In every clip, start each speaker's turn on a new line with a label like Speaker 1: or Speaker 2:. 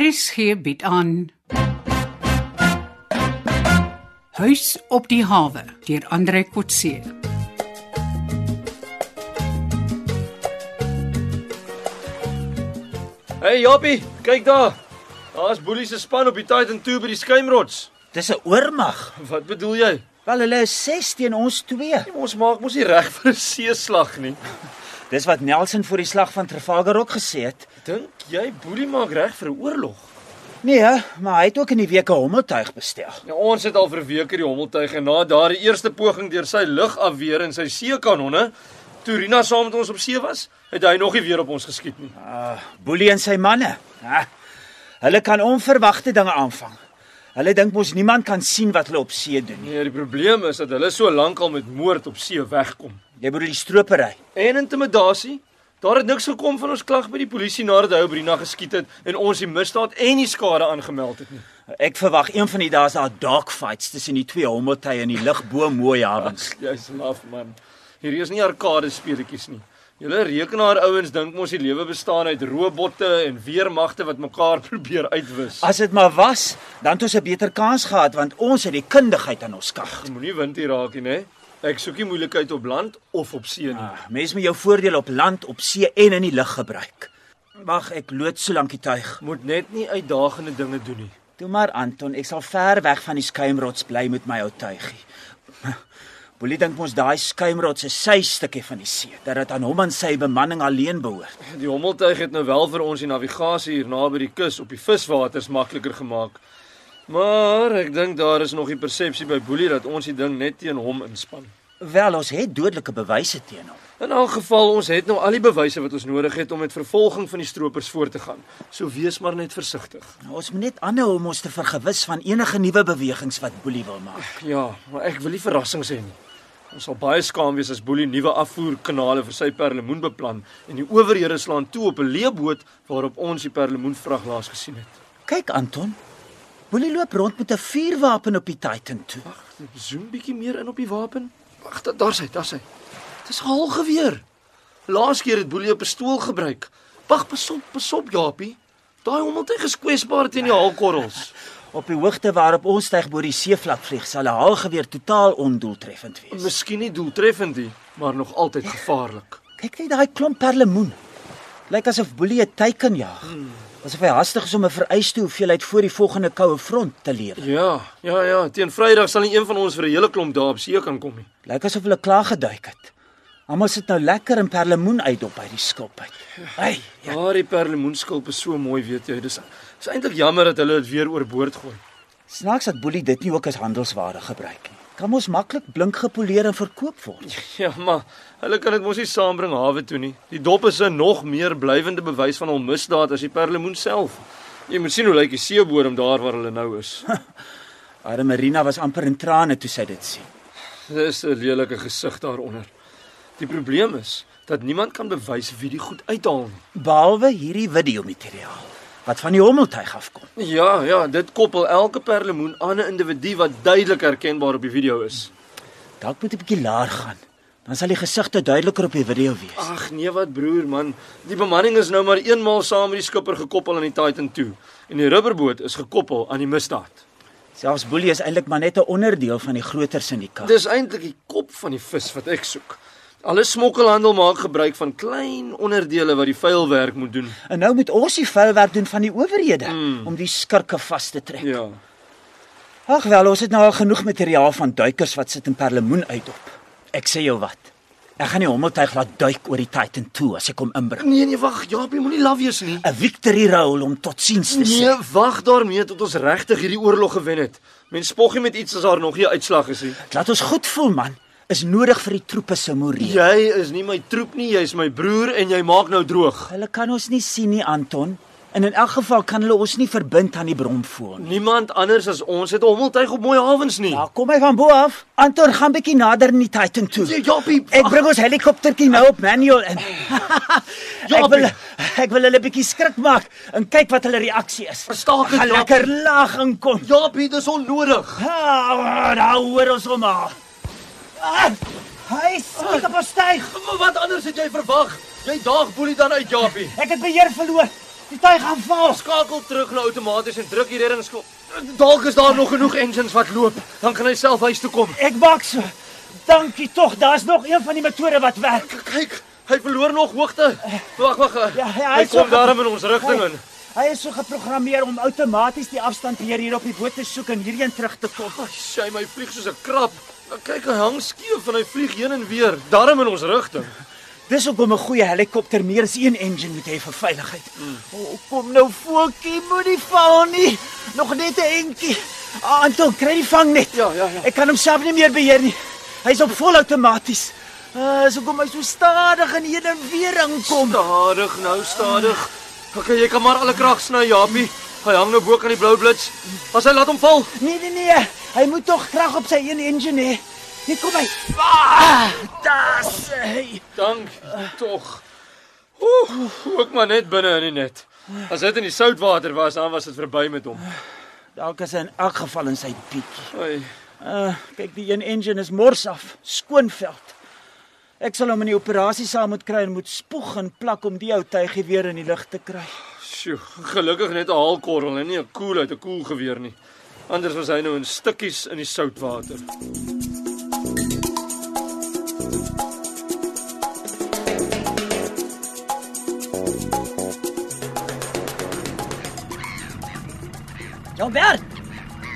Speaker 1: RSG bied aan Huis op die hawe deur Andre Kotse.
Speaker 2: Hey Jappie, kyk daar. Daar's Boelie se span op die Titan 2 by die skuimrots.
Speaker 3: Dis 'n oormag.
Speaker 2: Wat bedoel jy?
Speaker 3: Wel hulle is 6 teen ons 2.
Speaker 2: Nee, ons maak mos nie reg vir 'n seeslag nie.
Speaker 3: Dis wat Nelson voor die slag van Trafalgar ook gesê het.
Speaker 2: Dink jy Boelie maak reg vir 'n oorlog?
Speaker 3: Nee, hè, maar hy het ook in die week 'n hommeltuig bestel.
Speaker 2: Nou ons het al vir weke die hommeltuig en na daardie eerste poging deur sy lugafweer en sy seekanonne, toe Rina saam met ons op see was, het hy nog nie weer op ons geskiet nie.
Speaker 3: Ah, Boelie en sy manne. Ha, hulle kan onverwagte dinge aanvang. Hulle dink mos niemand kan sien wat hulle op see doen nie.
Speaker 2: Nee, die probleem is dat hulle so lank al met moord op see wegkom.
Speaker 3: Jy bedoel die stropery.
Speaker 2: En intimidasie. Daar het niks gekom van ons klag by die polisie nadat hy op Rina geskiet het en ons die misdaad en die skade aangemeld het nie.
Speaker 3: Ek verwag een van die dae is daar dogfights tussen die twee hommeltuie in die lug bo mooi hawens.
Speaker 2: Jy's laf man. Hier is nie arcade speletjies nie. Julle rekenaar ouens dink mos die lewe bestaan uit robotte en weermagte wat mekaar probeer uitwis.
Speaker 3: As dit maar was, dan het ons 'n beter kans gehad want ons het die kundigheid aan ons kag.
Speaker 2: Moenie wind hier raak nie, hè. Ek soek nie moeilikheid op land of op see nie.
Speaker 3: Ah, Mens moet jou voordeel op land, op see en in die lug gebruik. Wag, ek loop so lank die tuig.
Speaker 2: Moet net nie uitdagende dinge doen nie.
Speaker 3: Toe maar Anton, ek sal ver weg van die skuimrots bly met my ou tuigie. Boelie dink mos daai skuimrots is sy stukkie van die see, dat dit aan hom en sy bemanning alleen behoort.
Speaker 2: Die hommeltuig het nou wel vir ons die navigasie hier naby die kus op die viswaters makliker gemaak. Maar ek dink daar is nog die persepsie by Boelie dat ons die ding net teen hom inspann.
Speaker 3: Wel, ons het dodelike bewyse teen hom.
Speaker 2: In elk geval, ons het nou al die bewyse wat ons nodig het om met vervolging van die stroopers voort te gaan. So wees maar net versigtig.
Speaker 3: Nou, ons moet net aanhou om ons te vergewis van enige nuwe bewegings wat Boelie wil maak.
Speaker 2: Ja, maar ek wil nie verrassings hê nie. Ons sal baie skaam wees as Boelie nuwe afvoerkanale vir sy perlemoen beplan en die owerhede slaan toe op 'n leeboot waarop ons die perlemoenvrag laas gesien het.
Speaker 3: Kyk Anton, Boelie loop rond met 'n vuurwapen op die Titan toe.
Speaker 2: Zoom bietjie meer in op die wapen. Wag, da- daar's hy, daar's hy. Dis 'n halgeweer. Laas keer het Boelie 'n pistool gebruik. Wag, pasop, pasop Japie. Daai hommeltuig is kwesbaar teen die haalkorrels.
Speaker 3: Op die hoogte waarop ons styg bo die seevlak vlieg, sal 'n haalgeweer totaal ondoeltreffend wees.
Speaker 2: Miskien nie doeltreffend nie, maar nog altyd gevaarlik.
Speaker 3: Kyk net daai klomp perlemoen. Lyk asof Boelie 'n teiken jaag. Asof hy hastig is om 'n vereiste hoeveelheid voor die volgende koue front te lewer.
Speaker 2: Ja, ja, ja, teen Vrydag sal nie een van ons vir 'n hele klomp dae op see kan kom nie.
Speaker 3: Lyk asof hulle klaar geduik het. Almal sit nou lekker in perlemoen uitdop uit die skulp uit. Hey,
Speaker 2: Ja, die perlemoenskilp is so mooi, weet jy. Dis is eintlik jammer dat hulle dit weer oorboord gooi.
Speaker 3: snaaks dat Boelie dit nie ook as handelsware gebruik nie. Kan mos maklik blink gepoleer en verkoop word.
Speaker 2: Ja, maar hulle kan dit mos nie saambring hawe toe nie. Die dop is 'n nog meer blywende bewys van hul misdaad as die perlemoen self. Jy moet sien hoe lyk die seebodem daar waar hulle nou is.
Speaker 3: Arme Marina was amper in trane toe sy dit sien.
Speaker 2: Dis 'n lelike gesig daaronder. Die probleem is dat niemand kan bewys wie die goed uithaal nie.
Speaker 3: Behalwe hierdie videomateriaal wat van die hommeltuig afkom.
Speaker 2: Ja, ja, dit koppel elke perlemoen aan 'n individu wat duidelik herkenbaar op die video is.
Speaker 3: Dalk moet 'n bietjie laer gaan. Dan sal die gesigte duideliker op die video wees.
Speaker 2: Ag nee, wat broer man, die bemanning is nou maar eenmaal saam met die skipper gekoppel aan die Titan 2 en die rubberboot is gekoppel aan die misdaad.
Speaker 3: Selfs Boelie is eintlik maar net 'n onderdeel van die groter syndikaat.
Speaker 2: Dis eintlik die kop van die vis wat ek soek. Alle smokkelhandel maak gebruik van klein onderdele wat die vuilwerk moet doen.
Speaker 3: En nou moet ons die vuilwerk doen van die owerhede om die skurke vas te trek.
Speaker 2: Ja.
Speaker 3: Ag wel, ons het nou al genoeg materiaal van duikers wat sit in perlemoen uitop. Ek sê jou wat. Ek gaan die hommeltuig laat duik oor die Titan toe as ek hom inbring.
Speaker 2: Nee nee, wag, Jaapie, moenie laf wees nie.
Speaker 3: 'n Victory roll om totsiens te sê.
Speaker 2: Nee, wag daarmee tot ons regtig hierdie oorlog gewen het. Mens spog nie met iets as daar nog nie 'n uitslag is nie.
Speaker 3: Laat ons goed voel man, is nodig vir die troepe se moraal.
Speaker 2: Jy is nie my troep nie, jy's my broer en jy maak nou droog.
Speaker 3: Hulle kan ons nie sien nie, Anton. En in elk geval kan hulle ons nie verbind aan die bronfoon nie.
Speaker 2: Niemand anders as ons het 'n hommeltuig op mooi hawens nie.
Speaker 3: Ja, kom hy van bo af. Anton gaan bietjie nader in die Titan toe.
Speaker 2: Ja, Jappie,
Speaker 3: Ek bring ons helikoptertjie nou op manual in. ek wil ek wil hulle bietjie skrik maak en kyk wat hulle reaksie is.
Speaker 2: Verstaak het,
Speaker 3: Gaan
Speaker 2: Jaap.
Speaker 3: lekker laag inkom.
Speaker 2: Jaapie, dis onnodig.
Speaker 3: Ha, nou hoor ons hom al. Ah, hy skiet op 'n styg.
Speaker 2: Maar wat anders het jy verwag? Jy daag boelie dan uit, Jaapie.
Speaker 3: Ek het beheer verloor. Die tuig gaan vals.
Speaker 2: Skakel terug na outomaties en druk die reddingskop. Dalk is daar nog genoeg engines wat loop, dan kan hy self huis toe kom.
Speaker 3: Ek maak so. Dankie tog, daar's nog een van die metode wat werk.
Speaker 2: K- Kyk, hy verloor nog hoogte. Wag, wag.
Speaker 3: Ja, ja, hy
Speaker 2: hy
Speaker 3: is
Speaker 2: kom
Speaker 3: so-
Speaker 2: daarom in ons rigting in.
Speaker 3: Hy is so geprogrammeer om outomaties die afstandbeheer hier op die boot te soek en hierheen terug te kom.
Speaker 2: Ai, sy my vlieg soos 'n krap. Kyk, hy hang skeef en hy vlieg heen en weer, daarom in ons rigting.
Speaker 3: Dis hoekom 'n goeie helikopter meer as een engine moet hê vir veiligheid. O, kom nou voetjie, moenie val nie. Nog net 'n entjie. Ah, Anton, kry die vang net.
Speaker 2: Ja, ja, ja.
Speaker 3: Ek kan hom self nie meer beheer nie. Hy's op volautomaties. Uh, so kom hy so stadig en heen en weer inkom.
Speaker 2: Stadig nou, stadig. Okay, jy kan maar alle krag sny, Japie. Hy hang nou bo kan die blou blits. As hy laat hom val.
Speaker 3: Nee, nee, nee. Hy moet tog krag op sy een engine hê. Hier kom hy. Ah, das hy.
Speaker 2: Dank tog. Oeh, ook maar net binne in die net. As dit in die soutwater was, dan was dit verby met hom.
Speaker 3: Dalk is hy in elk geval in sy pietjie.
Speaker 2: Ai,
Speaker 3: Uh, kyk, die een engine is mors af, skoonveld. Ek sal hom in die operasie saam moet kry en moet spoeg en plak om die ou tuigie weer in die lug te kry.
Speaker 2: sjoe, gelukkig net 'n haalkorrel en nie 'n koel uit 'n koelgeweer nie. Anders was hy nou in stukkies in die soutwater.
Speaker 4: Jobert,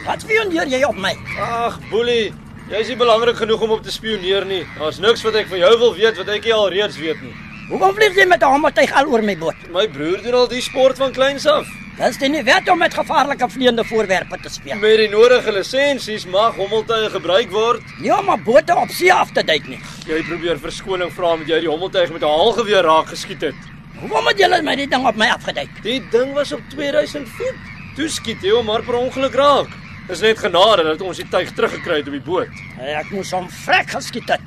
Speaker 4: wat spioneer jy op my?
Speaker 2: Ag, boelie, jy's nie belangrik genoeg om op te spioneer nie. Daar's niks wat ek van jou wil weet wat ek nie alreeds weet nie.
Speaker 4: Hoekom vlieg jy met 'n hamertuig al oor my boot?
Speaker 2: My broer doen al die sport van kleins af.
Speaker 4: Dis dit nie wet om met gevaarlike vleiende voorwerpe te speel.
Speaker 2: Met die nodige lisensies mag hommeltuie gebruik word.
Speaker 4: Nie om 'n boot op see af te duik nie.
Speaker 2: Jy probeer verskoning vra omdat jy die hommeltuig met 'n haalgeweer raak geskiet het.
Speaker 4: Hoekom het julle my die ding op my afgeduik?
Speaker 2: Die ding was op 2000 voet. Toe skiet jy hom maar per ongeluk raak. Dis net genade dat ons die tuig teruggekry het op die boot.
Speaker 4: Ek moes hom vrek geskiet het.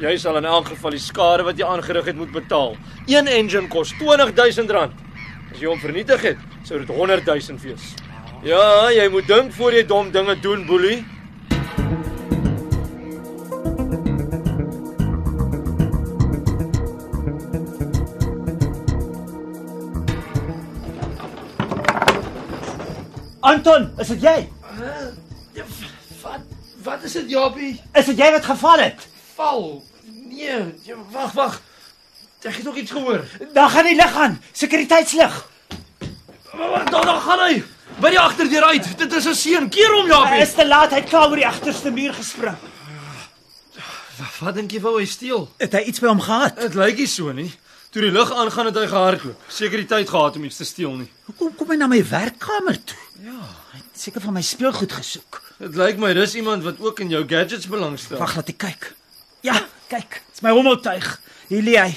Speaker 2: Jy sal in elk geval die skade wat jy aangerig het moet betaal. Een engine kos R20000. As jy hom vernietig het, sou dit R100000 wees. Ja, jy moet dink voor jy dom dinge doen, boelie.
Speaker 3: Anton, is dit jy?
Speaker 2: Ja, Wat wat is dit, Jopie?
Speaker 3: Is dit jy wat geval het?
Speaker 2: Val. Nee, jy- wag, wag. Ek het ook iets gehoor.
Speaker 3: Dan gaan die lig aan, sekuriteitslig.
Speaker 2: Wag, daar daar gaan hy. By die agterdeur uit. Dit is 'n seun. Keer hom,
Speaker 3: Hy
Speaker 2: Jopie.
Speaker 3: is te laat, hy het klaar oor die agterste muur gespring.
Speaker 2: Wat dink jy wou hy steel?
Speaker 3: Het hy iets by hom gehad?
Speaker 2: Dit lyk nie so nie. Toe die lig aangaan het hy gehardloop. Sekuriteit gehad om iets te steel nie.
Speaker 3: Hoekom kom hy na my werkkamer toe? Ja, hy het seker van my speelgoed gesoek.
Speaker 2: Dit lyk my dis iemand wat ook in jou gadgets belangstel.
Speaker 3: Wag, laat ek kyk. Ja, kyk, dit's my hommeltuig. Hier lê hy.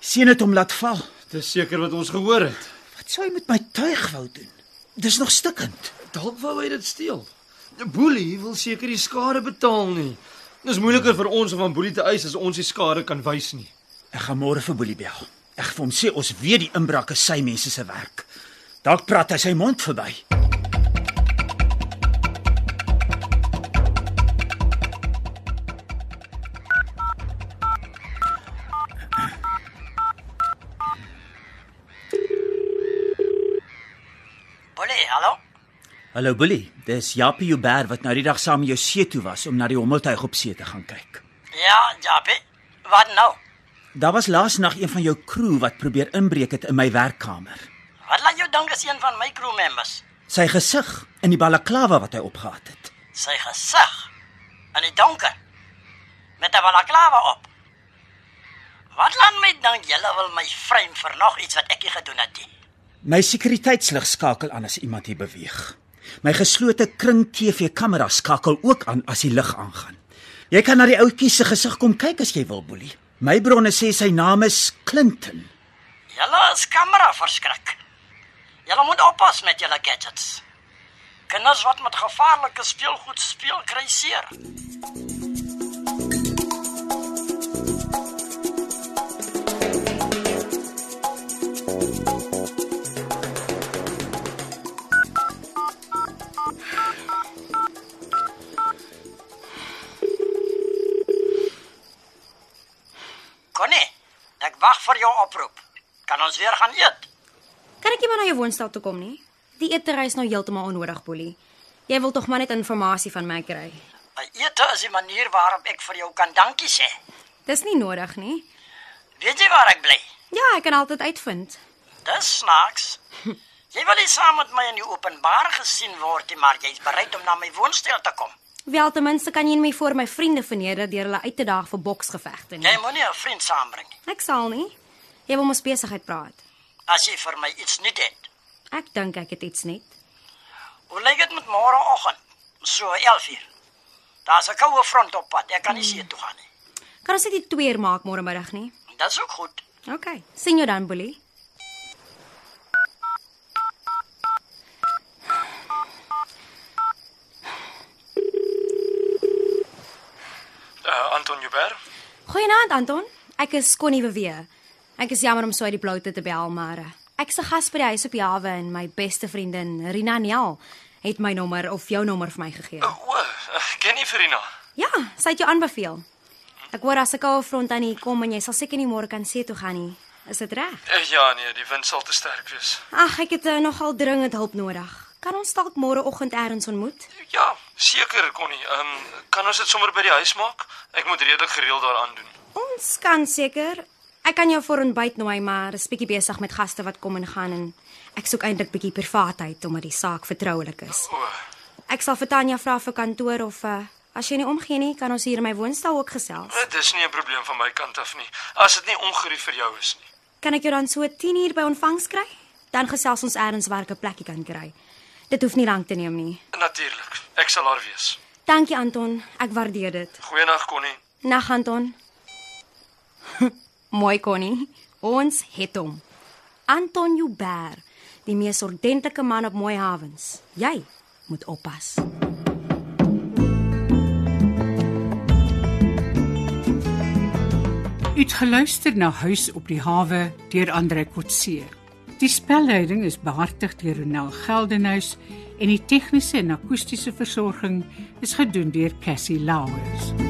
Speaker 3: Sien dit hom laat val.
Speaker 2: Dis seker wat ons gehoor het.
Speaker 3: Wat sou hy met my tuig wou doen? Dis nog stikkend.
Speaker 2: Dalk wou hy dit steel. Boelie wil seker die skade betaal nie. Dis moeiliker vir ons om aan Boelie te eis as ons die skade kan wys nie.
Speaker 3: Ek gaan môre vir Boelie bel. Ek gaan hom sê ons weet die inbraak is sy mense se werk. Dalk praat hy sy mond verby.
Speaker 4: Bolle, hallo?
Speaker 3: Hallo Boelie, dis Japie Huber wat nou die dag saam met jou see toe was om na die hommeltuig op see te gaan kyk.
Speaker 4: Ja, Jabie. Wat nou?
Speaker 3: Daar was laas nag een van jou crew wat probeer inbreek het in my werkkamer.
Speaker 4: Wat laat jou dink is een van my crew members?
Speaker 3: Sy gesig in die balaklava wat hy opgehaat het.
Speaker 4: Sy gesig in die donker met 'n balaklava op. Wat laat my dink julle wil my vreem vir nog iets wat ek nie gedoen het nie.
Speaker 3: My sekuriteitslig skakel aan as iemand hier beweeg. My geslote kring TV-kamera skakel ook aan as die lig aangaan. Jy kan na die ouetjie se gesig kom kyk as jy wil, Boelie. My bronne sê sy naam is Clinton.
Speaker 4: Julle is kamera verskrik. Julle moet oppas met julle gadgets. Kinders wat met gevaarlike speelgoed speel, kry seer. Connie, ek wag vir jou oproep. Kan ons weer gaan eet?
Speaker 5: Kan ek behoort jy maar na jou woonstel toe kom nie. Die eetery is nou heeltemal onnodig, Boelie. Jy wil tog maar net inligting van my kry.
Speaker 4: My ete is die manier waarop ek vir jou kan dankie sê.
Speaker 5: Dis nie nodig nie.
Speaker 4: Weet jy waar ek bly?
Speaker 5: Ja, ek kan altyd uitvind.
Speaker 4: Dis snaaks. Jy wil nie saam met my in die openbaar gesien word nie, maar jy's bereid om na my woonstel te kom.
Speaker 5: Wel ten minste kan jy nie my voor my vriende verneder deur hulle uit te daag vir boksgevegte
Speaker 4: Jy
Speaker 5: nie.
Speaker 4: moenie 'n vriend saambring nie.
Speaker 5: Ek sal nie. Jy wil mos besigheid praat.
Speaker 4: As jy vir my iets nie het.
Speaker 5: Ek dink ek het iets net.
Speaker 4: Hoe lyk dit met môreoggend? So 11uur. Daar's 'n koue front op pad. Ek kan nie see toe gaan nie.
Speaker 5: Kan ons dit nie tweeër maak môre middag nie?
Speaker 4: Dis ook goed.
Speaker 5: OK. Sien jou dan, Boelie.
Speaker 6: Uh, Anton Joubert.
Speaker 5: Goeienaand Anton. Ek is Connie Wewe. Ek is jammer om so uit die blou te te bel, maar eh, ek se gas by die huis op die hawe en my beste vriendin Rina Nel het my nommer of jou nommer vir my gegee.
Speaker 6: O, oh, uh, ken jy Verina?
Speaker 5: Ja, sy het jou aanbeveel. Ek hoor as 'n koue front aan hier kom en jy sal seker nie môre kan see toe gaan nie. Is dit reg?
Speaker 6: Uh, ja nee, die wind sal te sterk wees.
Speaker 5: Ag, ek het uh, nogal dringend hulp nodig. Kan ons dalk môreoggend elders ontmoet?
Speaker 6: Ja, seker Connie. Ehm um, kan ons dit sommer by die huis maak? Ek moet redelik gereeld daaraan doen.
Speaker 5: Ons kan seker. Ek kan jou vir ontbyt nooi, maar is bietjie besig met gaste wat kom en gaan en ek soek eintlik bietjie privaatheid omdat die saak vertroulik is.
Speaker 6: O, oh,
Speaker 5: Ek sal vir Tanya vra vir kantoor of uh, as jy nie omgee nie, kan ons hier in my woonstel ook gesels.
Speaker 6: dit is Eh, nie 'n probleem van my kant af nie. As dit nie ongerief vir jou is nie.
Speaker 5: Kan ek jou dan so 10uur by ontvangs kry? Dan gesels ons eers waar ek 'n plekkie kan kry. Dit hoef nie lank te neem nie.
Speaker 6: Natuurlik. Ek sal daar wees.
Speaker 5: Dankie Anton, ek waardeer dit.
Speaker 6: Goeienaand Connie.
Speaker 5: Nag Anton. Mooi Connie, ons het hom. Anton Joubert, die mees ordentlike man op Mooi Havens. Jy moet oppas.
Speaker 1: U het geluister na Huis op die hawe deur Andre Kotse. Die spelleiding is behartig deur Ronel Geldenhuys en die tegniese en akoestiese versorging is gedoen deur Cassie Lauers.